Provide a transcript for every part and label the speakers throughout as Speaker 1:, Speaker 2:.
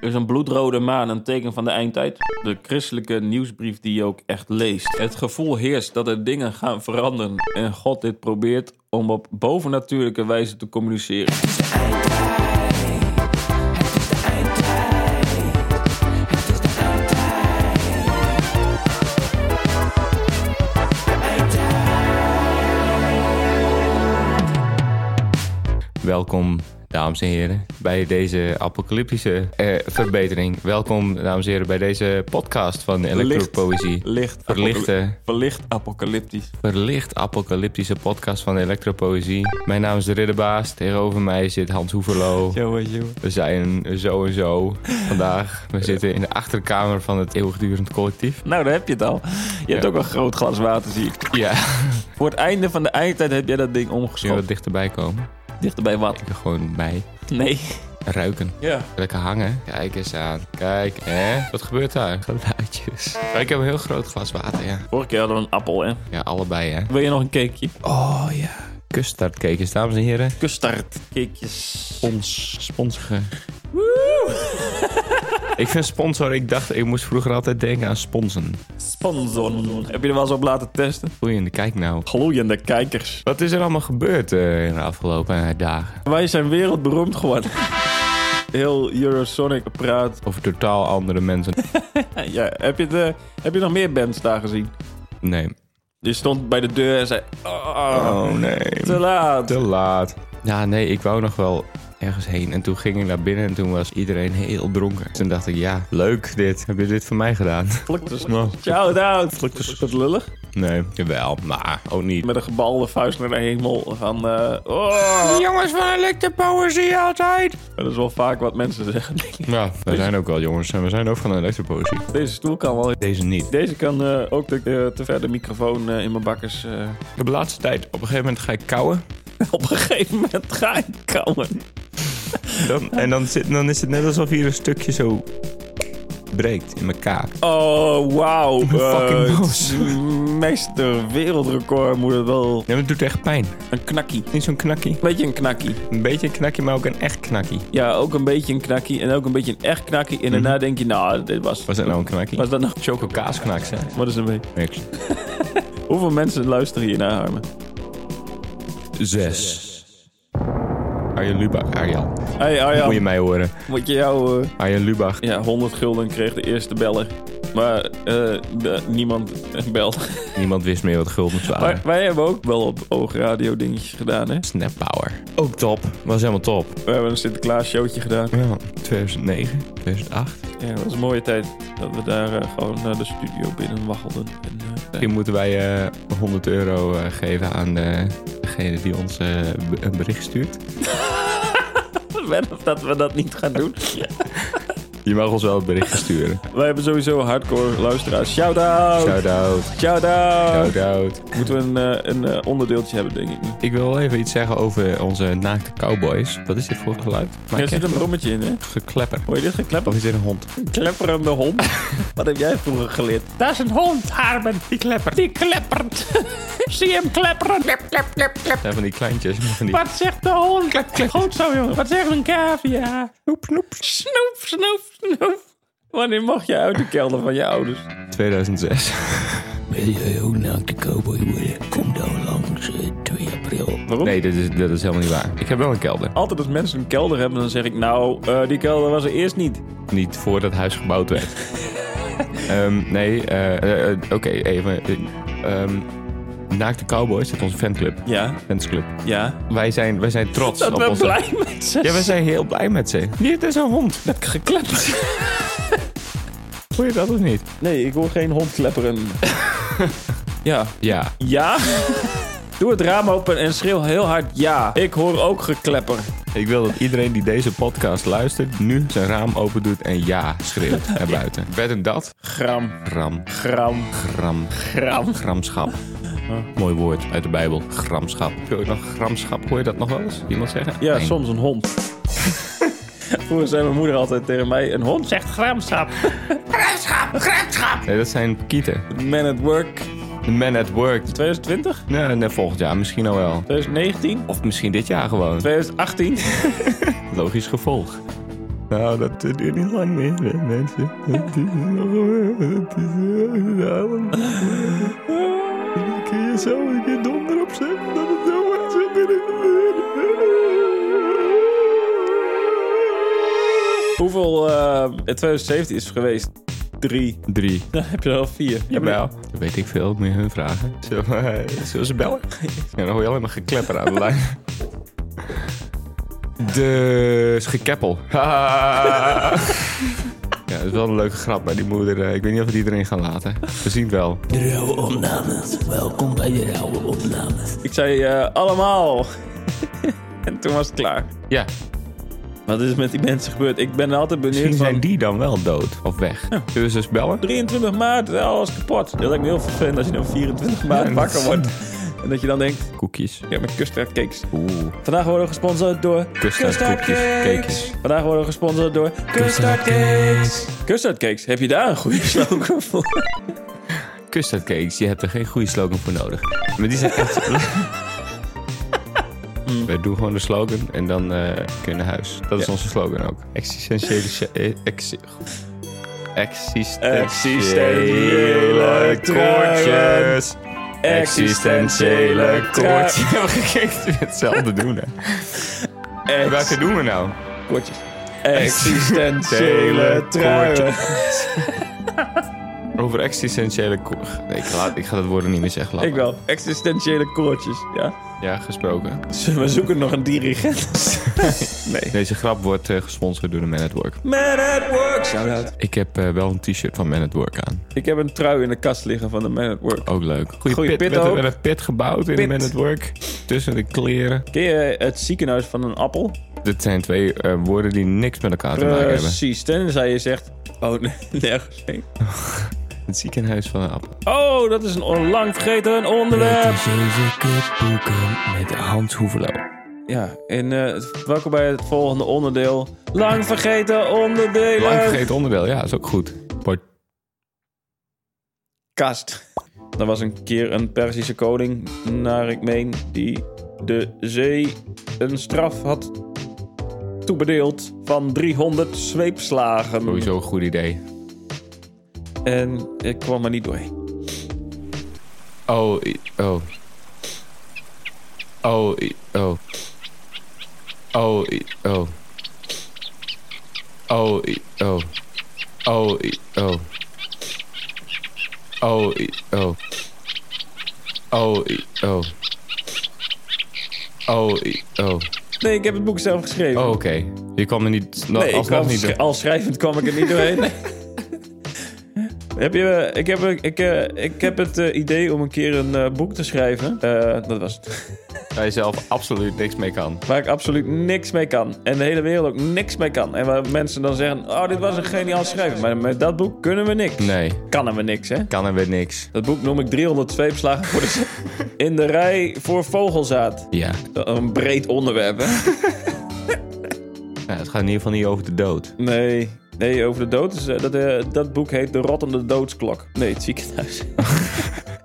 Speaker 1: Er is een bloedrode maan, een teken van de eindtijd. De christelijke nieuwsbrief die je ook echt leest. Het gevoel heerst dat er dingen gaan veranderen. En God dit probeert om op bovennatuurlijke wijze te communiceren.
Speaker 2: Welkom, dames en heren, bij deze apocalyptische eh, verbetering. Welkom, dames en heren, bij deze podcast van Elektropoëzie.
Speaker 1: Licht.
Speaker 2: Verlichte,
Speaker 1: Verlicht apocalyptisch.
Speaker 2: verlicht apocalyptische podcast van Elektropoëzie. Mijn naam is de Ridderbaas. Tegenover mij zit Hans Hoeverlo.
Speaker 1: Jongen, jongen.
Speaker 2: We zijn zo en zo vandaag. We zitten in de achterkamer van het eeuwigdurend collectief.
Speaker 1: Nou, daar heb je het al. Je hebt ook een groot glas water, zie ik.
Speaker 2: Ja,
Speaker 1: Voor het einde van de eindtijd heb jij dat ding
Speaker 2: zullen we
Speaker 1: omgeschoven.
Speaker 2: wat dichterbij komen?
Speaker 1: Dichter bij wat?
Speaker 2: Ik er gewoon bij
Speaker 1: Nee.
Speaker 2: ruiken.
Speaker 1: Ja.
Speaker 2: Lekker hangen. Kijk eens aan. Kijk, hè? Wat gebeurt daar? Geluidjes. Maar ik heb een heel groot glas water, ja.
Speaker 1: Vorige keer hadden we een appel, hè.
Speaker 2: Ja, allebei, hè?
Speaker 1: Wil je nog een cakeje?
Speaker 2: Oh, ja. Kuststaartcakes, dames en heren.
Speaker 1: Kustart. Cakejes.
Speaker 2: Spons. Sponsige. ik vind sponsor, ik dacht, ik moest vroeger altijd denken aan sponsen.
Speaker 1: Sponsor. Heb je er wel eens op laten testen?
Speaker 2: Boeiende, kijk nou.
Speaker 1: Gloeiende kijkers.
Speaker 2: Wat is er allemaal gebeurd eh, in de afgelopen eh, dagen?
Speaker 1: Wij zijn wereldberoemd geworden. Heel Eurosonic praat.
Speaker 2: Over totaal andere mensen.
Speaker 1: Ja, heb je, de, heb je nog meer bands daar gezien?
Speaker 2: Nee.
Speaker 1: Die stond bij de deur en zei... Oh,
Speaker 2: Oh, nee.
Speaker 1: te laat.
Speaker 2: Te laat. Ja, nee, ik wou nog wel ergens heen. En toen ging ik naar binnen en toen was iedereen heel dronken. Toen dacht ik, ja, leuk dit. Heb je dit voor mij gedaan?
Speaker 1: Vlugtes.
Speaker 2: Nou.
Speaker 1: Shout-out. Is dat lullig?
Speaker 2: Nee, jawel, maar ook niet.
Speaker 1: Met een gebalde vuist naar de hemel van... eh, oh.
Speaker 2: Jongens van Electe Poëzie altijd.
Speaker 1: Dat is wel vaak wat mensen zeggen.
Speaker 2: Ja, we zijn ook wel jongens en we zijn ook van Electe Poëzie.
Speaker 1: Deze stoel kan wel...
Speaker 2: Deze niet.
Speaker 1: Deze kan eh, ook de, eh, te ver de microfoon eh, in mijn bakkers... eh,
Speaker 2: Ik heb de laatste tijd, op een gegeven moment ga ik kauwen.
Speaker 1: op een gegeven moment ga ik komen.
Speaker 2: Dan, en dan, zit, dan is het net alsof hier een stukje zo breekt in mijn kaak.
Speaker 1: Oh, wauw.
Speaker 2: fucking
Speaker 1: Eh,
Speaker 2: boos.
Speaker 1: Meester wereldrecord moet het wel.
Speaker 2: Nee, maar het doet echt pijn.
Speaker 1: Een knakkie.
Speaker 2: Niet zo'n knakkie.
Speaker 1: Beetje een knakkie.
Speaker 2: Een beetje een knakkie, maar ook een echt knakkie.
Speaker 1: Ja, ook een beetje een knakkie. En ook een beetje een echt knakkie. En daarna
Speaker 2: Mhm.
Speaker 1: denk je, nou, dit was...
Speaker 2: Was dat nou een knakkie?
Speaker 1: Was dat nog...
Speaker 2: Choco kaasknaks, hè?
Speaker 1: Wat is een beetje...
Speaker 2: Niks.
Speaker 1: Hoeveel mensen luisteren hier naar Armen?
Speaker 2: Zes. Arjen Lubach, Arjan.
Speaker 1: hey, Arjan.
Speaker 2: Moet je mij horen.
Speaker 1: Moet je jou... eh,
Speaker 2: Arjen Lubach.
Speaker 1: Ja, 100 gulden kreeg de eerste beller. Maar eh, de- niemand belde.
Speaker 2: Niemand wist meer wat guldens
Speaker 1: Maar
Speaker 2: waren.
Speaker 1: wij hebben ook wel op oogradio dingetjes gedaan, hè?
Speaker 2: Snap Power. Ook top. Was helemaal top.
Speaker 1: We hebben een Sinterklaas showtje gedaan.
Speaker 2: Ja, 2009, 2008.
Speaker 1: Ja, dat was een mooie tijd dat we daar eh, gewoon naar de studio binnen waggelden. En, eh,
Speaker 2: Misschien moeten wij eh, 100 euro eh, geven aan eh, degene die ons eh, b- een bericht stuurt.
Speaker 1: wedden of dat we dat niet gaan doen.
Speaker 2: Je mag ons wel een bericht sturen.
Speaker 1: Wij hebben sowieso hardcore luisteraars. Shout-out!
Speaker 2: Shout-out.
Speaker 1: Shout-out!
Speaker 2: Shout-out.
Speaker 1: Moeten we een, eh, een eh, onderdeeltje hebben, denk ik nu.
Speaker 2: Ik wil wel even iets zeggen over onze naakte cowboys. Wat is dit voor geluid? Maar
Speaker 1: Er
Speaker 2: ik
Speaker 1: zit
Speaker 2: heb
Speaker 1: een brommetje in, hè?
Speaker 2: geklepper.
Speaker 1: Hoor je dit geklepper?
Speaker 2: Of is dit een hond?
Speaker 1: Klepperende hond. Wat heb jij vroeger geleerd? Daar is een hond, Armen. Die kleppert. Die kleppert. Zie hem klepperen. Klep, klep, klep, klep.
Speaker 2: zijn van die kleintjes. Van die...
Speaker 1: Wat zegt de hond? Goed zo, jongen. Wat zegt een cavia? Snoep, snoep. Snoep, snoep, snoep. Wanneer mocht je uit de kelder van je ouders?
Speaker 2: 2006.
Speaker 3: Wil je ook naakte cowboy worden? Kom dan langs eh, 2 april.
Speaker 1: Waarom?
Speaker 2: Nee, dat is, dat is helemaal niet waar. Ik heb wel een kelder.
Speaker 1: Altijd als mensen een kelder hebben, dan zeg ik... Nou, eh, die kelder was er eerst niet.
Speaker 2: Niet voordat huis gebouwd werd. Ehm, nee, eh, eh, eh, oké, even. eh, ehm, Naakte Cowboys, dat is onze fanclub.
Speaker 1: Ja,
Speaker 2: Fansclub.
Speaker 1: ja.
Speaker 2: Wij zijn, wij zijn trots
Speaker 1: Dat
Speaker 2: op
Speaker 1: we
Speaker 2: onze...
Speaker 1: blij met ze
Speaker 2: Ja, we zijn heel blij met ze. Dit is een hond.
Speaker 1: zijn geklepperd.
Speaker 2: Voel je dat of niet?
Speaker 1: Nee, ik hoor geen hond klepperen. ja.
Speaker 2: Ja.
Speaker 1: Ja? Doe het raam open en schreeuw heel hard ja. Ik hoor ook geklepper.
Speaker 2: Ik wil dat iedereen die deze podcast luistert... nu zijn raam open doet en ja schreeuwt naar buiten. Wet en dat.
Speaker 1: Gram,
Speaker 2: Gram.
Speaker 1: gram,
Speaker 2: Gram.
Speaker 1: gram.
Speaker 2: Gramschap. Mooi woord uit de Bijbel. Gramschap. Hoor je nog gramschap? Hoor je dat nog wel eens? Iemand zeggen?
Speaker 1: Ja,
Speaker 2: Nee.
Speaker 1: soms een hond. Vroeger zei mijn moeder altijd tegen mij, een hond zegt gramschap.
Speaker 2: Nee, dat zijn kieten.
Speaker 1: Man at Work
Speaker 2: The Man at Work.
Speaker 1: 2020,
Speaker 2: Nee, nee, volgend jaar misschien al wel.
Speaker 1: 2019,
Speaker 2: Of misschien dit jaar gewoon.
Speaker 1: 2018.
Speaker 2: Logisch gevolg. Nou, dat eh, duurt niet lang meer, hè, mensen. Het is nog... eh, Het is eh, een avond. Dan kun je zo een keer donder op zetten dat het zo wat zo binnen
Speaker 1: Hoeveel eh, in 2017 is geweest? Drie.
Speaker 2: Drie.
Speaker 1: Dan heb je er al vier.
Speaker 2: Jawel. Dat weet ik veel, moet je hun vragen. Zullen, we- eh, zullen ze bellen? Ja, dan hoor je alleen maar geklepper aan de lijn. Dus gekeppel. ja, dat is wel een leuke grap, maar die moeder, eh, ik weet niet of we die erin gaan laten. We zien het wel.
Speaker 4: De rauwe opnames. Welkom bij de rauwe opnames.
Speaker 1: Ik zei eh, allemaal. en toen was het klaar.
Speaker 2: Ja,
Speaker 1: Wat is met die mensen gebeurd? Ik ben altijd benieuwd
Speaker 2: misschien
Speaker 1: van...
Speaker 2: zijn die dan wel dood of weg. Zullen we ze eens bellen?
Speaker 1: 23 maart, alles kapot. Dat lijkt me heel vervelend als je dan 24 maart
Speaker 2: Ja,
Speaker 1: wakker
Speaker 2: dat-
Speaker 1: wordt. En dat je dan denkt,
Speaker 2: Koekjes.
Speaker 1: ja, mijn custardcakes.
Speaker 2: Oeh.
Speaker 1: Vandaag worden we gesponsord door
Speaker 2: Custardkoekjes, cakejes.
Speaker 1: Vandaag worden we gesponsord door custardcakes. Custardcakes, heb je daar een goede slogan voor?
Speaker 2: Custardcakes, je hebt er geen goede slogan voor nodig. Maar die zijn echt... We doen gewoon de slogan en dan eh, kunnen we naar huis. Dat is
Speaker 1: Ja.
Speaker 2: onze slogan ook. Existentiële... sh- eh, Ex
Speaker 1: Existentiële
Speaker 2: existentiële kortjes. Existentiële kortjes. We gaan hetzelfde doen, hè. Welke doen we nou?
Speaker 1: kortjes. Existentiële truien.
Speaker 2: Over existentiële... ko- Nee, ik, laat, ik ga dat woord niet meer zeggen. laat
Speaker 1: Ik
Speaker 2: maar.
Speaker 1: wel. Existentiële koortjes, ja.
Speaker 2: Ja, gesproken.
Speaker 1: Zullen we zoeken nog een dirigent? nee.
Speaker 2: Deze grap wordt eh, gesponsord door de Man at Work.
Speaker 1: Man at Work. Shout-out.
Speaker 2: Ik heb eh, wel een t-shirt van Man at Work aan.
Speaker 1: Ik heb een trui in de kast liggen van de Man at Work.
Speaker 2: Ook leuk. Goeie,
Speaker 1: Goeie pit
Speaker 2: met,
Speaker 1: ook.
Speaker 2: met een pit gebouwd in
Speaker 1: Pit.
Speaker 2: Man at Work. Tussen de kleren.
Speaker 1: Ken je het ziekenhuis van een appel?
Speaker 2: Dit zijn twee eh, woorden die niks met elkaar te maken hebben.
Speaker 1: Precies. Tenzij je zegt... Oh, nee, nergens heen.
Speaker 2: Het ziekenhuis van een appel.
Speaker 1: Oh, dat is een onlang vergeten onderwerp.
Speaker 4: boeken met Hans Hoevelo.
Speaker 1: Ja, en eh welkom bij het volgende onderdeel. Lang vergeten onderdelen.
Speaker 2: Lang vergeten onderdeel, ja, is ook goed. Port-
Speaker 1: kast. Er was een keer een Perzische koning, naar ik meen, die de zee een straf had toebedeeld van 300 zweepslagen.
Speaker 2: Sowieso een goed idee.
Speaker 1: En ik kwam er niet doorheen.
Speaker 2: Oh, i- oh. Oh, i- oh. Oh, i- oh. Oh, i- oh. Oh, i- oh. Oh, i- oh. Oh, i- oh. Oh, i- oh.
Speaker 1: Nee, ik heb het boek zelf geschreven.
Speaker 2: Oh, oké. Je kwam er niet... nog-
Speaker 1: nee, ik
Speaker 2: alsnog
Speaker 1: kwam,
Speaker 2: niet
Speaker 1: sch- al schrijvend kwam ik er niet doorheen. Nee. Heb je, eh, ik, heb, ik, eh, ik heb het eh, idee om een keer een eh, boek te schrijven. Eh, dat was het.
Speaker 2: Waar je zelf absoluut niks mee kan.
Speaker 1: Waar ik absoluut niks mee kan. En de hele wereld ook niks mee kan. En waar mensen dan zeggen: Oh, dit was een geniaal schrijver. Maar met dat boek kunnen we niks.
Speaker 2: Nee,
Speaker 1: Kannen we niks, hè?
Speaker 2: kan er weer niks.
Speaker 1: Dat boek noem ik 300 zweepslagen voor de z- in de rij voor vogelzaad.
Speaker 2: Ja.
Speaker 1: Een breed onderwerp, hè?
Speaker 2: Nou, het gaat in ieder geval niet over de dood.
Speaker 1: Nee. Nee, over de dood. is, eh, dat, eh, dat boek heet De Rottende Doodsklok. Nee, het ziekenhuis.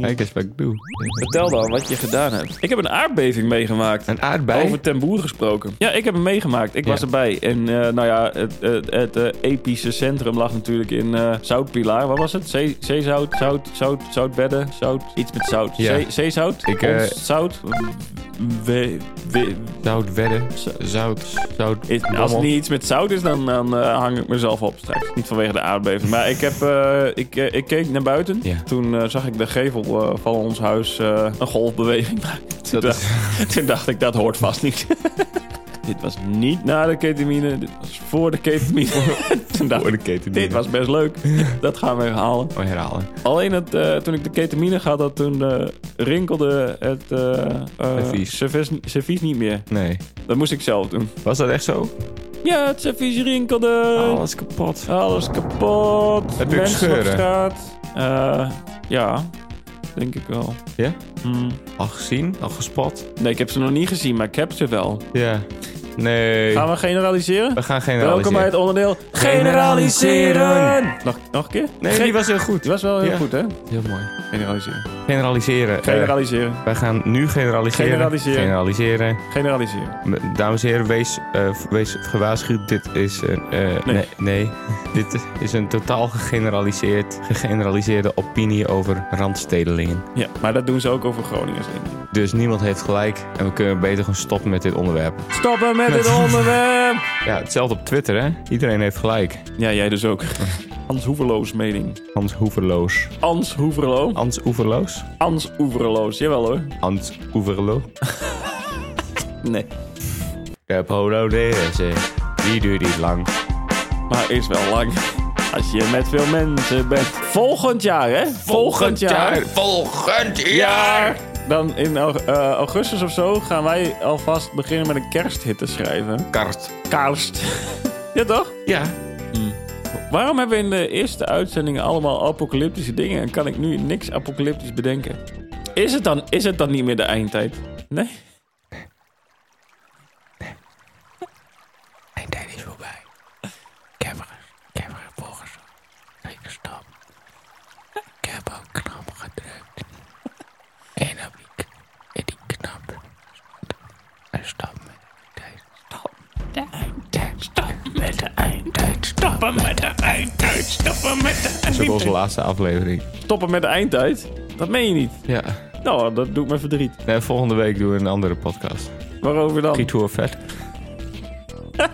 Speaker 2: Kijk eens wat ik doe.
Speaker 1: Vertel dan wat je gedaan hebt. Ik heb een aardbeving meegemaakt.
Speaker 2: Een aardbei?
Speaker 1: Over ten boer gesproken. Ja, ik heb hem meegemaakt. Ik
Speaker 2: Ja.
Speaker 1: was erbij. En eh, nou ja, het, het, het, eh, epische centrum lag natuurlijk in eh Zoutpilaar. Wat was het? Zee- Zeezout, zout, zout, zoutbedden, zout, iets met zout.
Speaker 2: Ja.
Speaker 1: Zee- zeezout?
Speaker 2: Ik, eh,
Speaker 1: Ons- zout? We, we-
Speaker 2: Zout wedden. Zout. Zout.
Speaker 1: is- als het niet iets met zout is, dan, dan eh, hang ik mezelf op straks. Niet vanwege de aardbeving. Maar ik, heb, eh, ik, eh, ik keek naar buiten.
Speaker 2: Ja.
Speaker 1: Toen eh, zag ik de gevel eh, van ons huis eh, een golfbeweging maken. Toen,
Speaker 2: Dat is-
Speaker 1: dacht, toen dacht ik, dat hoort vast niet. dit was niet na de ketamine, dit was voor de ketamine. toen dacht ik,
Speaker 2: Oh, keten.
Speaker 1: dit was best leuk. dat gaan we halen.
Speaker 2: Oh, herhalen.
Speaker 1: Alleen het, eh, toen ik de ketamine gehad had, toen eh, rinkelde het eh, eh,
Speaker 2: Servies.
Speaker 1: servies- servies niet meer.
Speaker 2: Nee.
Speaker 1: Dat moest ik zelf doen.
Speaker 2: Was dat echt zo?
Speaker 1: Ja, het servies rinkelde.
Speaker 2: Alles kapot.
Speaker 1: Alles kapot.
Speaker 2: Heb je ook
Speaker 1: Mensen op
Speaker 2: scheuren?
Speaker 1: straat. Eh, ja, denk ik wel.
Speaker 2: Ja?
Speaker 1: Hmm.
Speaker 2: Al gezien? Al gespot?
Speaker 1: Nee, ik heb ze nog niet gezien, maar ik heb ze wel.
Speaker 2: Ja. Nee.
Speaker 1: Gaan we generaliseren?
Speaker 2: We gaan
Speaker 1: Welkom
Speaker 2: generaliseren.
Speaker 1: bij het onderdeel Generaliseren! Nog, nog een keer?
Speaker 2: Nee,
Speaker 1: Ge-
Speaker 2: die was heel goed.
Speaker 1: die was wel heel
Speaker 2: Ja.
Speaker 1: goed, hè?
Speaker 2: Heel mooi.
Speaker 1: Generaliseren.
Speaker 2: Generaliseren. Eh,
Speaker 1: Generaliseren.
Speaker 2: wij gaan nu generaliseren.
Speaker 1: Generaliseren.
Speaker 2: Generaliseren.
Speaker 1: Generaliseren.
Speaker 2: M- Dames en heren, wees, eh, v- wees gewaarschuwd. Dit is een. eh,
Speaker 1: Nee.
Speaker 2: nee. nee. Dit is een totaal gegeneraliseerd, gegeneraliseerde opinie over randstedelingen.
Speaker 1: Ja, maar dat doen ze ook over Groningers. denk ik.
Speaker 2: Dus niemand heeft gelijk en we kunnen beter gewoon stoppen met dit onderwerp.
Speaker 1: Stoppen met dit onderwerp!
Speaker 2: Ja, hetzelfde op Twitter, hè? Iedereen heeft gelijk.
Speaker 1: Ja, jij dus ook. Ans Hoeverloos mening.
Speaker 2: Hans Hoeverloos.
Speaker 1: Ans Hoeverloos.
Speaker 2: Hans Oeverloos?
Speaker 1: Ans Hoeverloos. Jawel hoor.
Speaker 2: Hans Oeverloos.
Speaker 1: Nee.
Speaker 2: Ik heb holodezen. Die duurt niet lang.
Speaker 1: Maar is wel lang. Als je met veel mensen bent. Volgend jaar, hè? Volgend jaar.
Speaker 2: Volgend
Speaker 1: jaar. Dan in au- eh, augustus of zo gaan wij alvast beginnen met een kersthit te schrijven.
Speaker 2: Kart.
Speaker 1: Kerst. ja, toch?
Speaker 2: Ja.
Speaker 1: Waarom hebben we in de eerste uitzendingen allemaal apocalyptische dingen en kan ik nu niks apocalyptisch bedenken? Is het dan, is het dan niet meer de eindtijd? Nee?
Speaker 5: Mijn tijd is voorbij. Cameras, camera volgens. Zeker stap. Ik heb ook knap gedrukt. En op die, k- en die knap. Een stap met de tijd. Stap. De eindtijd. Stap met de eindtijd. Stappen met de eindtijd. Stappen met de
Speaker 2: Dat is ook onze laatste aflevering.
Speaker 1: Stoppen met de eindtijd? Dat meen je niet.
Speaker 2: Ja.
Speaker 1: Nou, dat doet me verdriet.
Speaker 2: Nee, volgende week doen we een andere podcast.
Speaker 1: Waarover dan?
Speaker 2: Retour vet.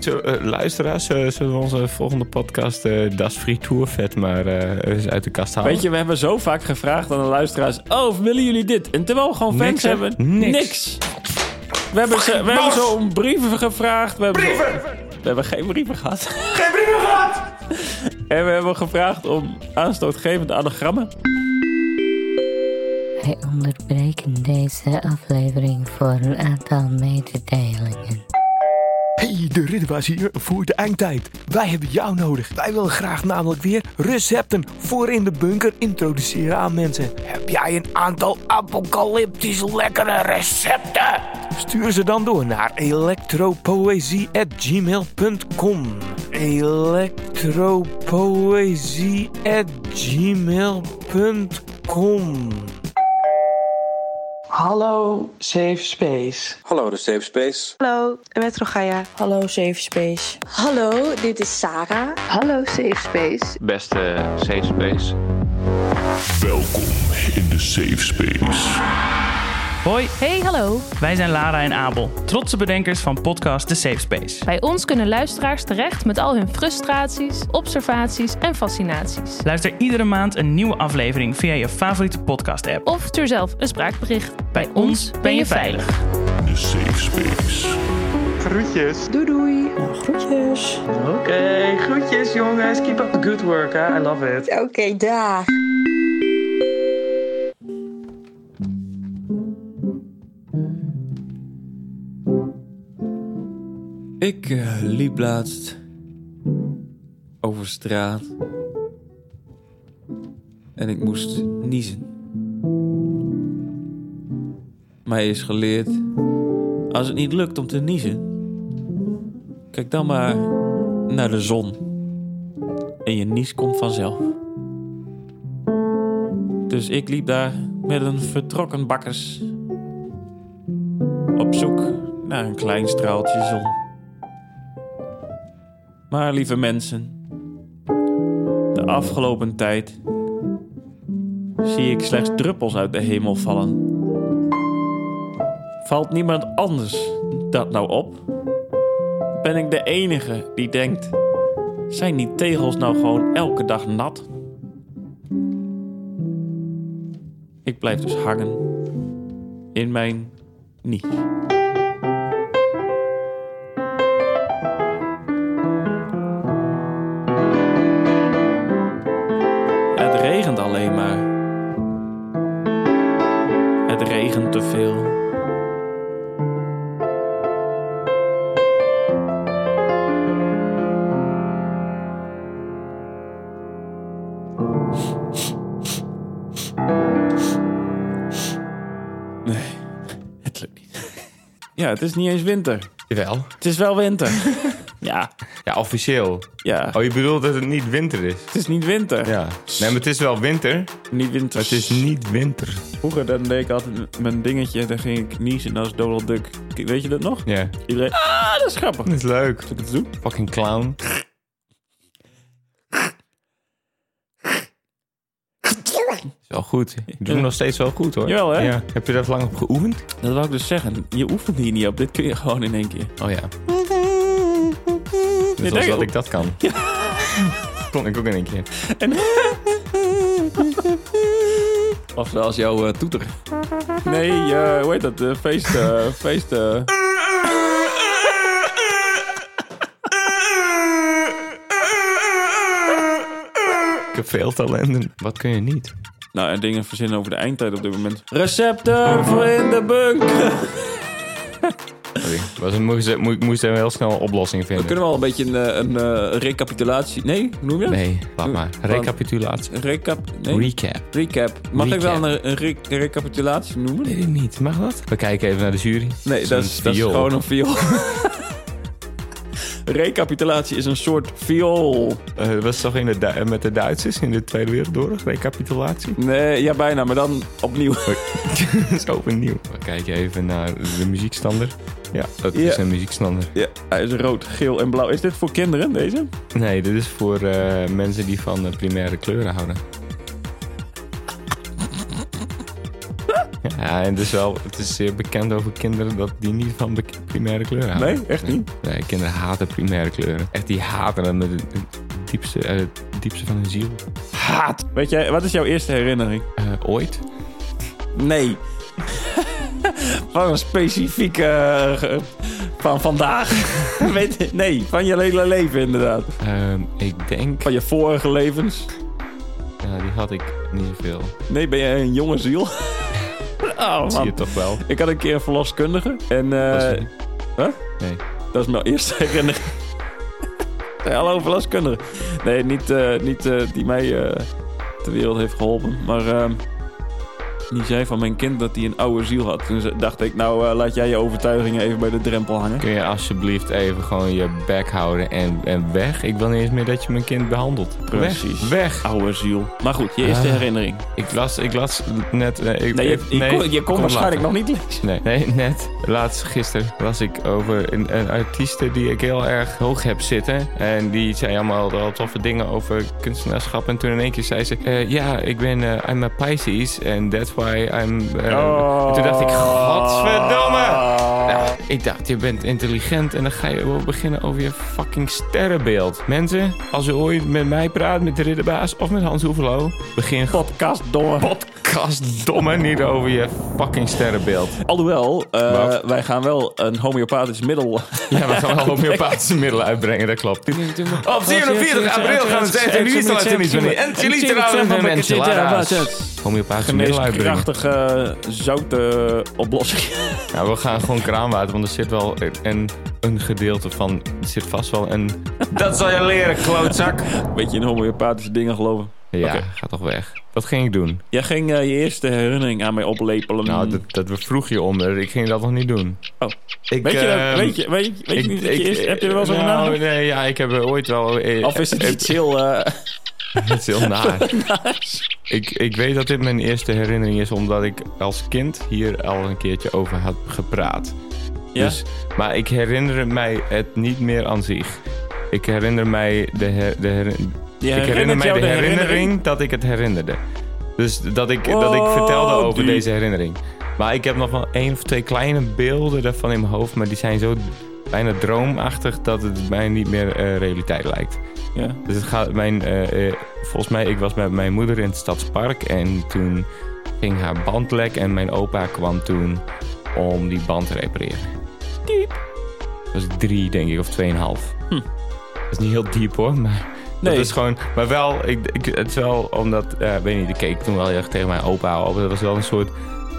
Speaker 2: Zo, eh, luisteraars, eh, zullen we onze volgende podcast eh Das Frituur vet maar eh, eens uit de kast halen?
Speaker 1: Weet je, we hebben zo vaak gevraagd aan de luisteraars: Oh, willen jullie dit? En terwijl we gewoon fans
Speaker 2: Niks, hè?
Speaker 1: hebben,
Speaker 2: Niks.
Speaker 1: We hebben, ze, we hebben
Speaker 2: mars!
Speaker 1: zo om brieven gevraagd. We hebben Zo, we hebben geen brieven gehad. Geen brieven gehad! en we hebben gevraagd om aanstootgevende anagrammen.
Speaker 6: Wij onderbreken deze aflevering voor een aantal mededelingen.
Speaker 7: Hey, de Ridderbaas hier voor de eindtijd. Wij hebben jou nodig. Wij willen graag namelijk weer recepten voor in de bunker introduceren aan mensen. Heb jij een aantal apocalyptisch lekkere recepten? Stuur ze dan door naar electropoëzie@gmail.com. electropoëzie@gmail.com.
Speaker 8: Hallo Safe Space.
Speaker 9: Hallo, de Safe Space.
Speaker 10: Hallo, met Rogaya.
Speaker 11: Hallo Safe Space.
Speaker 12: Hallo, dit is Sarah.
Speaker 11: Hallo Safe Space.
Speaker 2: Beste safe space.
Speaker 13: Welkom in de safe space.
Speaker 14: Hoi,
Speaker 12: Hey, hallo.
Speaker 14: wij zijn Lara en Abel, trotse bedenkers van podcast The Safe Space.
Speaker 12: Bij ons kunnen luisteraars terecht met al hun frustraties, observaties en fascinaties.
Speaker 14: Luister iedere maand een nieuwe aflevering via je favoriete podcast-app.
Speaker 12: Of stuur zelf een spraakbericht.
Speaker 14: Bij ons ben je veilig.
Speaker 13: De safe space.
Speaker 8: Doei doei.
Speaker 11: Nou, groetjes.
Speaker 14: Oké, groetjes jongens. Keep up the good work, hè. I love it.
Speaker 10: Oké, dag.
Speaker 1: Ik eh, liep laatst over straat. En ik moest niezen. Mij is geleerd, als het niet lukt om te niezen, kijk dan maar naar de zon. En je nies komt vanzelf. Dus ik liep daar met een vertrokken bakkers op zoek naar een klein straaltje zon. Maar lieve mensen, de afgelopen tijd zie ik slechts druppels uit de hemel vallen. Valt niemand anders dat nou op? Ben ik de enige die denkt: zijn die tegels nou gewoon elke dag nat? Ik blijf dus hangen in mijn niche. Het regent alleen maar. Het regent te veel. Nee, het lukt niet. Ja, Ja, het is niet eens winter.
Speaker 2: Jawel.
Speaker 1: Het is wel winter. ja.
Speaker 2: Ja, officieel.
Speaker 1: Ja.
Speaker 2: Oh, je bedoelt dat het niet winter is?
Speaker 1: Het is niet winter.
Speaker 2: Ja. Nee, maar het is wel winter.
Speaker 1: Niet winter.
Speaker 2: Maar het is niet winter.
Speaker 1: Vroeger dan deed ik altijd mijn dingetje, dan ging ik niezen als Donald Duck. K- Weet je dat nog?
Speaker 2: Ja.
Speaker 1: Iedereen, ah, dat is grappig.
Speaker 2: Dat is leuk.
Speaker 1: Zal ik het doen?
Speaker 2: Fucking clown. Is wel goed. Ik doe hem
Speaker 1: Ja.
Speaker 2: nog steeds wel goed hoor.
Speaker 1: Jawel, hè?
Speaker 2: Ja. Heb je daar lang op geoefend?
Speaker 1: Dat wou ik dus zeggen. Je oefent hier niet op. Dit kun je gewoon in één keer.
Speaker 2: Oh ja. Net
Speaker 1: denk
Speaker 2: als
Speaker 1: ik
Speaker 2: dat
Speaker 1: ook.
Speaker 2: ik dat kan. Kon ik ook in één keer.
Speaker 1: Of zoals jouw eh, toeter. Nee, eh, hoe heet dat? Eh, feest... eh, feest... eh.
Speaker 2: Ik heb veel talenten. Wat kun je niet?
Speaker 1: Nou, en dingen verzinnen over de eindtijd op dit moment. Recepten voor in de bunker.
Speaker 2: Sorry. Was een, moest, moest, moest er heel snel een oplossing vinden.
Speaker 1: Kunnen we al een beetje een, eh, een eh, recapitulatie... Nee, hoe noem je dat?
Speaker 2: Nee, laat maar. Recapitulatie.
Speaker 1: Recap... Nee.
Speaker 2: Recap.
Speaker 1: Recap. Mag ik
Speaker 2: Recap.
Speaker 1: wel een, een re- recapitulatie noemen?
Speaker 2: Weet ik niet. Mag dat? We kijken even naar de jury.
Speaker 1: Nee, dat is,
Speaker 2: een
Speaker 1: dat is
Speaker 2: viool.
Speaker 1: gewoon een viool. Recapitulatie is een soort viool.
Speaker 2: Eh, dat was toch in de, Du- eh, met de Duitsers in de Tweede Wereldoorlog? Recapitulatie?
Speaker 1: Nee, ja, bijna, maar dan opnieuw.
Speaker 2: dat is overnieuw. We kijken even naar de muziekstander. Ja, dat is
Speaker 1: Ja.
Speaker 2: een muziekstander.
Speaker 1: Ja, hij is rood, geel en blauw. Is dit voor kinderen, deze?
Speaker 2: Nee, dit is voor eh, mensen die van eh, primaire kleuren houden. Ja, en het is wel het is zeer bekend over kinderen dat die niet van be- primaire kleuren houden.
Speaker 1: Nee, echt niet?
Speaker 2: Nee, kinderen haten primaire kleuren. Echt, die haten het met het, het diepste, eh, het diepste van hun ziel.
Speaker 1: Haat. Weet jij, wat is jouw eerste herinnering?
Speaker 2: Eh, ooit?
Speaker 1: Nee. van een specifieke... eh, ge- van vandaag. Weet ik- nee, van je hele leven inderdaad.
Speaker 2: Ehm, ik denk...
Speaker 1: Van je vorige levens.
Speaker 2: Ja, die had ik niet zoveel.
Speaker 1: Nee, ben jij een jonge ziel? oh, man.
Speaker 2: Dat zie je toch wel?
Speaker 1: Ik had een keer een verloskundige. En
Speaker 2: Dat is
Speaker 1: eh,
Speaker 2: niet-
Speaker 1: huh?
Speaker 2: Nee.
Speaker 1: dat is mijn eerste herinnering. Nee, hallo, verloskundige. Nee, niet, eh, niet eh, die mij eh, ter wereld heeft geholpen. Maar ehm, die zei van mijn kind dat hij een oude ziel had. Toen ze- dacht ik, nou eh, laat jij je overtuigingen even bij de drempel hangen.
Speaker 2: Kun je alsjeblieft even gewoon je bek houden en, en weg? Ik wil niet eens meer dat je mijn kind behandelt.
Speaker 1: Precies.
Speaker 2: Weg. weg.
Speaker 1: Oude ziel. Maar goed, je eerste
Speaker 2: Ah.
Speaker 1: herinnering.
Speaker 2: Ik las, ik las net... eh, ik,
Speaker 1: Nee, je,
Speaker 2: ik-
Speaker 1: je kon, je kon
Speaker 2: kom
Speaker 1: waarschijnlijk
Speaker 2: later.
Speaker 1: nog niet lezen.
Speaker 2: Nee, nee, net. Laatst gisteren las ik over een, een artieste die ik heel erg hoog heb zitten. En die zei allemaal wel toffe dingen over kunstenaarschap. En toen in één keer zei ze... eh, Ja, ik ben... eh, I'm a Pisces. And that's why I'm... eh,
Speaker 1: Oh.
Speaker 2: En toen dacht ik... Godverdomme! Ja, ik dacht, je bent intelligent en dan ga je wel beginnen over je fucking sterrenbeeld. Mensen, als u ooit met mij praat, met de ridderbaas of met Hans Hoevelo, begin gewoon
Speaker 1: Podcast, domme.
Speaker 2: kastdomme niet over je fucking sterrenbeeld.
Speaker 1: Alhoewel, eh,
Speaker 2: Wat?
Speaker 1: wij gaan wel een homeopathisch middel
Speaker 2: Ja, we gaan wel homeopathische middelen uitbrengen, dat klopt. Op 47 april gaan we het echt in Nederland en niet meer. En Chili trouwens en mensen, Lara's. Homeopathische middelen uitbrengen.
Speaker 1: geneeskrachtige eh, zoute oplossing.
Speaker 2: Nou, we gaan gewoon kraanwater, want er zit wel een, een gedeelte van, er zit vast wel een... Dat zal je leren, klootzak.
Speaker 1: Beetje in homeopathische dingen geloven.
Speaker 2: Ja,
Speaker 1: Oké.
Speaker 2: ga toch weg. Dat ging ik doen.
Speaker 1: Jij ging eh, je eerste herinnering aan mij oplepelen.
Speaker 2: Nou, dat, dat we vroeg je onder. Ik ging dat nog niet doen.
Speaker 1: Hmm. Oh.
Speaker 2: Ik,
Speaker 1: weet, je,
Speaker 2: ehm,
Speaker 1: dat- weet je, weet je, weet je
Speaker 2: ik-
Speaker 1: niet dat je
Speaker 2: ik-
Speaker 1: eerst- heb je er wel zo'n
Speaker 2: nou,
Speaker 1: gedaan?
Speaker 2: Nee, ja, ik heb er ooit wel... eh,
Speaker 1: Of is het
Speaker 2: eh,
Speaker 1: iets heel... eh,
Speaker 2: Het is heel naar. ik, ik weet dat dit mijn eerste herinnering is, omdat ik als kind hier al een keertje over had gepraat.
Speaker 1: Ja.
Speaker 2: Dus, maar ik herinner mij het niet meer aan zich. Ik herinner mij de, her- de, her- ik herinner
Speaker 1: herinnert
Speaker 2: mij
Speaker 1: jou
Speaker 2: de
Speaker 1: de
Speaker 2: herinnering,
Speaker 1: herinnering?
Speaker 2: dat ik het herinnerde. Dus dat ik, dat ik vertelde
Speaker 1: Wow,
Speaker 2: over
Speaker 1: die-
Speaker 2: deze herinnering. Maar ik heb nog wel één of twee kleine beelden daarvan in mijn hoofd. Maar die zijn zo bijna droomachtig dat het mij niet meer eh, realiteit lijkt.
Speaker 1: ja.
Speaker 2: Dus het gaat mijn, eh, eh, volgens mij, ik was met mijn moeder in het stadspark en toen ging haar band lek en mijn opa kwam toen om die band te repareren. Diep. Dat was drie, denk ik, of tweeënhalf.
Speaker 1: Hm.
Speaker 2: Dat is niet heel diep hoor, maar
Speaker 1: Nee.
Speaker 2: dat is gewoon, maar wel, ik, ik, het is wel omdat, eh, weet niet, ik keek toen wel heel erg tegen mijn opa op. Dat was wel een soort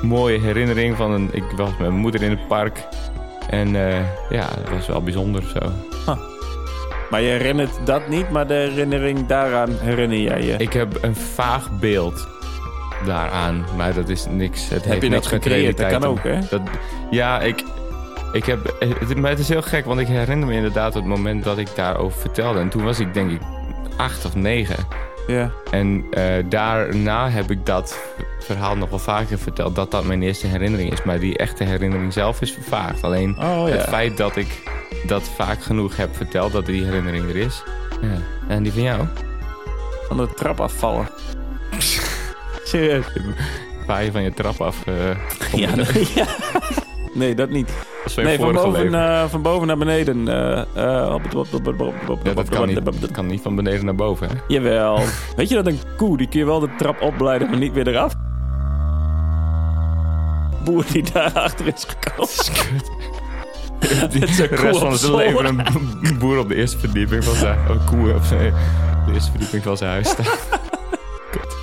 Speaker 2: mooie herinnering van een, ik was met mijn moeder in het park en eh, ja, dat was wel bijzonder zo.
Speaker 1: Maar je herinnert dat niet, maar de herinnering daaraan herinner jij je.
Speaker 2: Ik heb een vaag beeld daaraan, maar dat is niks. Het heeft
Speaker 1: je niks
Speaker 2: met
Speaker 1: gecreëerd? Dat
Speaker 2: realiteit
Speaker 1: kan
Speaker 2: te-
Speaker 1: ook, hè?
Speaker 2: dat- ja, ik, Ik heb, het, maar het is heel gek, want ik herinner me inderdaad het moment dat ik daarover vertelde. En toen was ik denk ik acht of negen.
Speaker 1: Ja.
Speaker 2: En eh, daarna heb ik dat verhaal nog wel vaker verteld. Dat dat mijn eerste herinnering is. Maar die echte herinnering zelf is vervaagd. Alleen
Speaker 1: Oh, ja.
Speaker 2: het feit dat ik dat vaak genoeg heb verteld, dat die herinnering er is. Ja. En die van jou?
Speaker 1: Van de trap afvallen. Serieus?
Speaker 2: Waar je van je trap af... eh?
Speaker 1: ja, ja. Nee, dat niet.
Speaker 2: is weer
Speaker 1: Nee, van
Speaker 2: vorige
Speaker 1: boven,
Speaker 2: leven.
Speaker 1: eh, van boven naar beneden. eh, eh, op het- op- op- op- op- op-
Speaker 2: Ja, dat
Speaker 1: op-
Speaker 2: kan
Speaker 1: op-
Speaker 2: niet,
Speaker 1: op- op-
Speaker 2: dat kan niet van beneden naar boven, hè?
Speaker 1: Jawel. Weet je dat een koe, die kun je wel de trap opleiden, maar niet weer eraf? Boer die daarachter is gekomen. Het is een
Speaker 2: de
Speaker 1: koe
Speaker 2: rest van
Speaker 1: op
Speaker 2: zijn leven
Speaker 1: zolder.
Speaker 2: een b- boer op de eerste verdieping van zijn een koe op zijn, de eerste verdieping van zijn huis staat. Kut.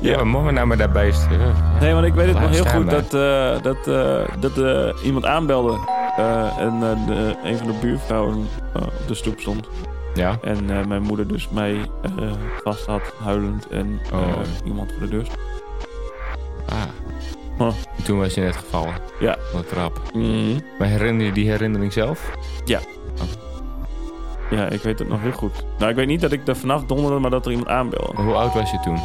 Speaker 2: Ja, maar mogen we nou maar daarbij sturen?
Speaker 1: Nee, want ik weet het
Speaker 2: Laat
Speaker 1: nog heel
Speaker 2: staan
Speaker 1: goed
Speaker 2: daar.
Speaker 1: dat, eh, dat, eh, dat eh, iemand aanbelde. eh, en eh, de- een van de buurvrouwen eh, op de stoep stond.
Speaker 2: Ja.
Speaker 1: En eh, mijn moeder dus mij eh, vast had, huilend. En eh,
Speaker 2: Oh.
Speaker 1: iemand voor de deur stond.
Speaker 2: Ah.
Speaker 1: Huh.
Speaker 2: Toen was je net gevallen.
Speaker 1: Ja.
Speaker 2: Van de trap.
Speaker 1: Mhm.
Speaker 2: Maar herinner je die herinnering zelf?
Speaker 1: Ja. Ja, ik weet het nog heel goed. Nou, ik weet niet dat ik er vanaf donderde, maar dat er iemand aanbelde.
Speaker 2: Hoe oud was je toen?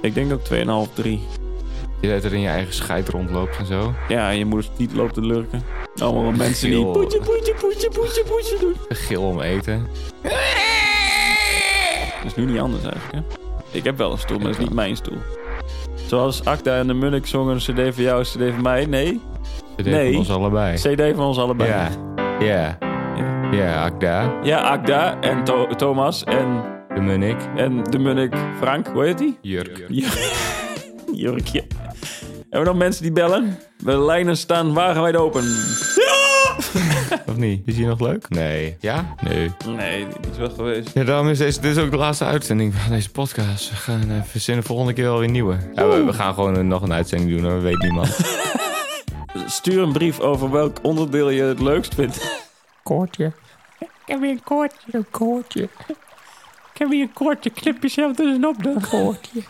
Speaker 1: Ik denk dat ik 2,5, 3.
Speaker 2: Je dat er in je eigen scheid rondloopt en zo.
Speaker 1: Ja, en je moeder niet loopt te lurken. Allemaal mensen die...
Speaker 2: Gil-
Speaker 1: Poetje, poetje, poetje, poetje, poetje doen.
Speaker 2: Gil om eten.
Speaker 1: Dat is nu niet anders eigenlijk, hè? Ik heb wel een stoel, maar dat is niet mijn stoel. Zoals Akda en de Munnik zongen een cd van jou, een cd van mij. Nee.
Speaker 2: CD
Speaker 1: nee.
Speaker 2: van ons allebei.
Speaker 1: cd van ons allebei.
Speaker 2: Ja. Ja. Ja, Akda.
Speaker 1: Ja, Akda en To- Thomas en...
Speaker 2: De Munnik.
Speaker 1: En de Munnik Frank, hoe heet die?
Speaker 2: Jurk.
Speaker 1: Jurk. Jurkje. Hebben we nog mensen die bellen? De lijnen staan wagenwijd open.
Speaker 2: Of niet? Is die nog leuk? Nee. Ja? Nee.
Speaker 1: Nee, die is wel geweest.
Speaker 2: Ja, daarom is deze, dit is ook de laatste uitzending van deze podcast. We gaan eh, verzinnen volgende keer wel weer nieuwe. Ja, we, we gaan gewoon eh, nog een uitzending doen, hoor. weet niemand.
Speaker 1: Stuur een brief over welk onderdeel je het leukst vindt.
Speaker 3: Koortje. Ik heb weer een koortje. Een koortje. Ik heb weer een koortje. Knip jezelf dus een op dan. Koortje.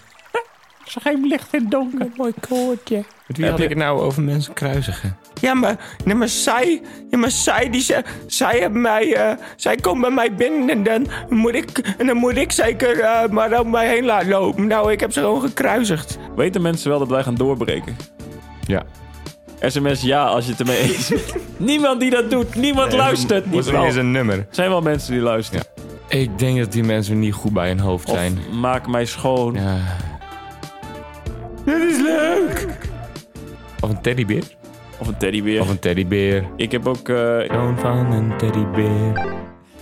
Speaker 3: Schijn licht en donker. mooi koortje.
Speaker 2: Met wie had ik het nou over mensen kruisigen?
Speaker 3: Ja, maar, nee, maar zij, ja, maar zij, die, ze- zij, hebben mij, eh, zij komt bij mij binnen en dan moet ik, en dan moet ik zeker eh, maar om mij heen laten lopen. Nou, ik heb ze gewoon gekruisigd.
Speaker 1: Weten mensen wel dat wij gaan doorbreken?
Speaker 2: Ja.
Speaker 1: SMS ja als je het ermee eens bent. Niemand die dat doet. Niemand luistert.
Speaker 2: Dat
Speaker 1: Niemand.
Speaker 2: is een nummer.
Speaker 1: Er zijn wel mensen die luisteren.
Speaker 2: Ik denk dat die mensen niet goed bij hun hoofd
Speaker 1: Of
Speaker 2: zijn.
Speaker 1: maak mij schoon.
Speaker 2: Ja.
Speaker 3: Dit is leuk!
Speaker 2: Of een teddybeer.
Speaker 1: Of een teddybeer.
Speaker 2: Of een teddybeer.
Speaker 1: Ik heb ook eh,
Speaker 2: Zoon van een teddybeer.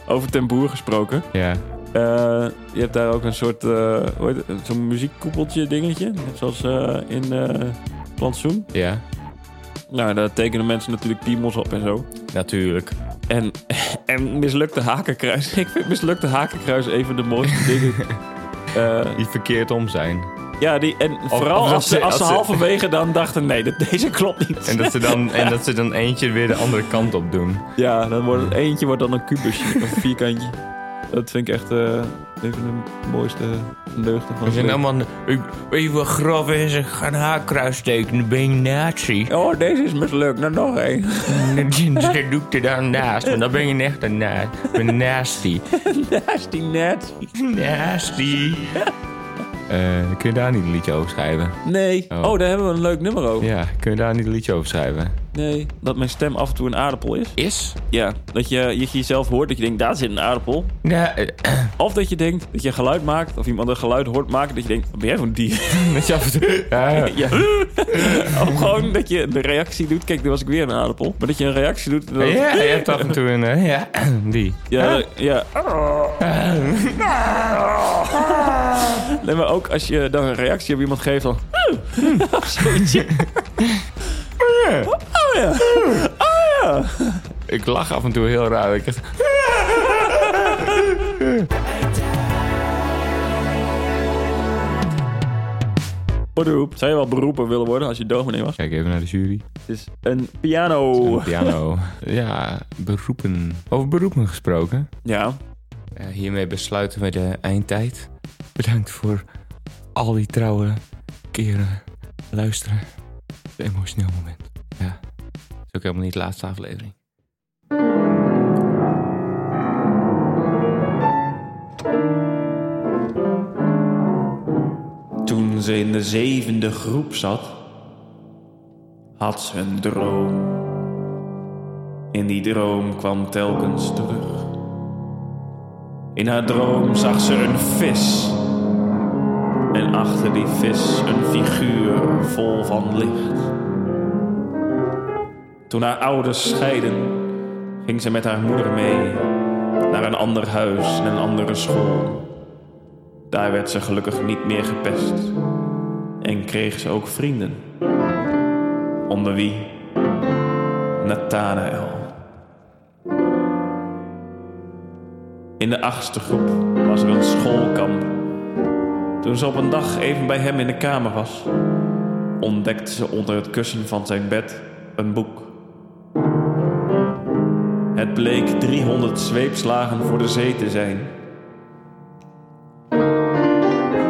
Speaker 1: over ten boer gesproken.
Speaker 2: Ja.
Speaker 1: Eh, je hebt daar ook een soort, eh, hoe heet het, zo'n muziekkoepeltje dingetje. Net zoals eh, in eh Plantsoen.
Speaker 2: Ja.
Speaker 1: Nou, daar tekenen mensen natuurlijk piemels op en zo.
Speaker 2: Natuurlijk.
Speaker 1: En, en mislukte hakenkruis. Ik vind mislukte hakenkruis een van de mooiste dingen. Eh,
Speaker 2: Die verkeerd om zijn.
Speaker 1: ja, die, en vooral
Speaker 2: dat
Speaker 1: als, ze,
Speaker 2: ze-
Speaker 1: als ze
Speaker 2: als ze-
Speaker 1: halverwege dan dachten... nee, dit- deze klopt niet.
Speaker 2: En dat, ze dan, en dat ze dan eentje weer de andere kant op doen.
Speaker 1: Ja, dan wordt het eentje wordt dan een kubusje, een vierkantje. Dat vind ik echt eh een van de mooiste deugden van
Speaker 3: We
Speaker 1: het
Speaker 3: zijn
Speaker 1: leven.
Speaker 3: allemaal... Ik, weet je wat grof is? Ik ga een haarkruis steken, dan ben je nazi.
Speaker 1: Oh, deze is mislukt. Nou, nog één.
Speaker 3: Misschien doe ik er dan naast, want dan ben je echt een naast. Ik ben nasty.
Speaker 1: Naast die net.
Speaker 3: Nasty.
Speaker 2: Eh, kun je daar niet een liedje over schrijven?
Speaker 1: Nee.
Speaker 2: Oh.
Speaker 1: Oh. daar hebben we een leuk nummer over.
Speaker 2: Ja, kun je daar niet een liedje over schrijven?
Speaker 1: Nee. Dat mijn stem af en toe een aardappel is.
Speaker 3: Is?
Speaker 1: Ja. Dat je, je jezelf hoort dat je denkt, daar zit een aardappel.
Speaker 3: Ja, eh,
Speaker 1: Of dat je denkt dat je een geluid maakt. Of iemand een geluid hoort maken. Dat je denkt, wat ben jij voor een dier?
Speaker 2: Met je af en toe- Ja,
Speaker 1: ja. of gewoon dat je de reactie doet. Kijk, nu was ik weer een aardappel. Maar dat je een reactie doet. en
Speaker 2: ja,
Speaker 1: dan-
Speaker 2: ja, je hebt af en toe een... eh, Ja, die.
Speaker 1: Ja, ja. Nee, maar ook als je dan een reactie op iemand geeft, dan...
Speaker 2: Hm.
Speaker 1: Of zoiets. Oh ja. Oh ja.
Speaker 2: Ik lach af en toe heel raar. Ik echt...
Speaker 1: Beroep. Zou je wel beroepen willen worden als je dominee was?
Speaker 2: Kijk even naar de jury.
Speaker 1: Het is een piano.
Speaker 2: Een piano. Ja, beroepen. Over beroepen gesproken.
Speaker 1: Ja.
Speaker 2: Eh, hiermee besluiten we de eindtijd. Bedankt voor al die trouwe keren luisteren. Het emotioneel moment. Ja. is ook helemaal niet de laatste aflevering.
Speaker 1: Toen ze in de zevende groep zat, had ze een droom. In die droom kwam telkens terug. In haar droom zag ze een vis. En achter die vis een figuur vol van licht. Toen haar ouders scheiden, ging ze met haar moeder mee naar een ander huis en een andere school. Daar werd ze gelukkig niet meer gepest en kreeg ze ook vrienden. Onder wie Nathanael. In de achtste groep was er een schoolkamp. Toen ze op een dag even bij hem in de kamer was, ontdekte ze onder het kussen van zijn bed een boek. Het bleek 300 zweepslagen voor de zee te zijn.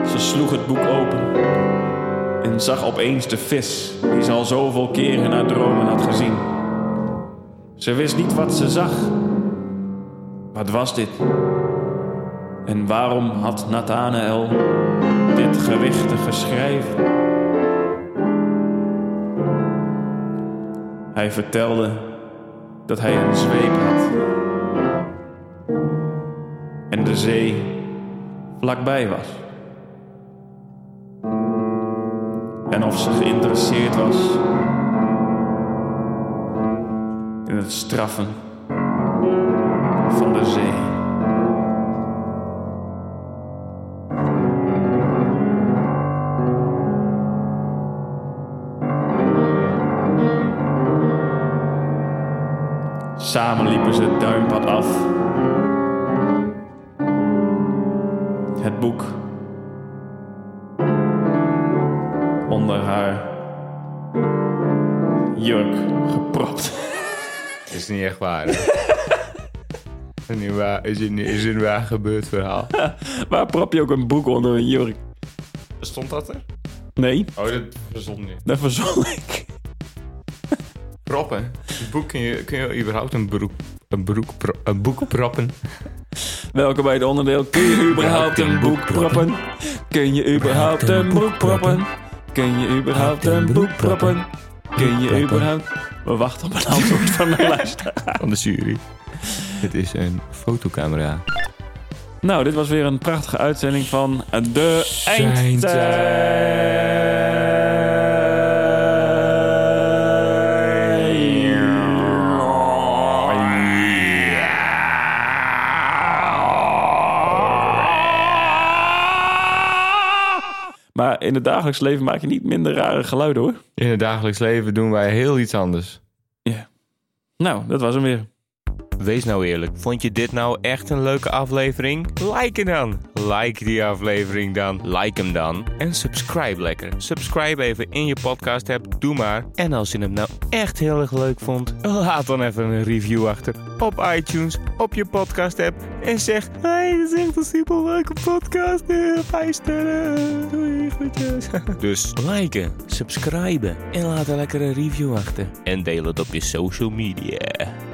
Speaker 1: Ze sloeg het boek open en zag opeens de vis die ze al zoveel keer in haar dromen had gezien. Ze wist niet wat ze zag. Wat was dit? En waarom had Nathanael dit gewichtige schrijven? Hij vertelde dat hij een zweep had. En de zee vlakbij was. En of ze geïnteresseerd was in het straffen van de zee. Samen liepen ze het duimpad af. Het boek onder haar jurk gepropt.
Speaker 2: Is niet echt waar. hè? Is niet waar- Is een, is een waar gebeurd verhaal.
Speaker 1: Waar prop je ook een boek onder een jurk?
Speaker 2: Stond dat er?
Speaker 1: Nee,
Speaker 2: Oh, dat verzon je.
Speaker 1: dat verzon ik.
Speaker 2: Proppen. Een boek kun je, kun je überhaupt een broek, een, broek, pro- een boek proppen?
Speaker 1: Welkom bij het onderdeel. Kun je überhaupt een boek proppen? Kun je überhaupt een boek proppen? Kun je überhaupt een boek proppen? Kun je überhaupt... We wachten op een antwoord van de luisteraar.
Speaker 2: Van de jury. Het is een fotocamera.
Speaker 1: Nou, dit was weer een prachtige uitzending van De Eindtijd. Maar in het dagelijks leven maak je niet minder rare geluiden hoor.
Speaker 2: In het dagelijks leven doen wij heel iets anders.
Speaker 1: Nou, dat was hem weer.
Speaker 2: Wees nou eerlijk. Vond je dit nou echt een leuke aflevering? Like hem dan. Like die aflevering dan. Like hem dan. En subscribe lekker. Subscribe even in je podcast app. Doe maar. En als je hem nou echt heel erg leuk vond, laat dan even een review achter. Op iTunes, op je podcast app. En zeg, hey, dit is echt een super leuke podcast. Eh, Vijf sterren. Doei, groetjes. Dus liken, subscriben en laat een lekkere review achter. En deel het op je social media.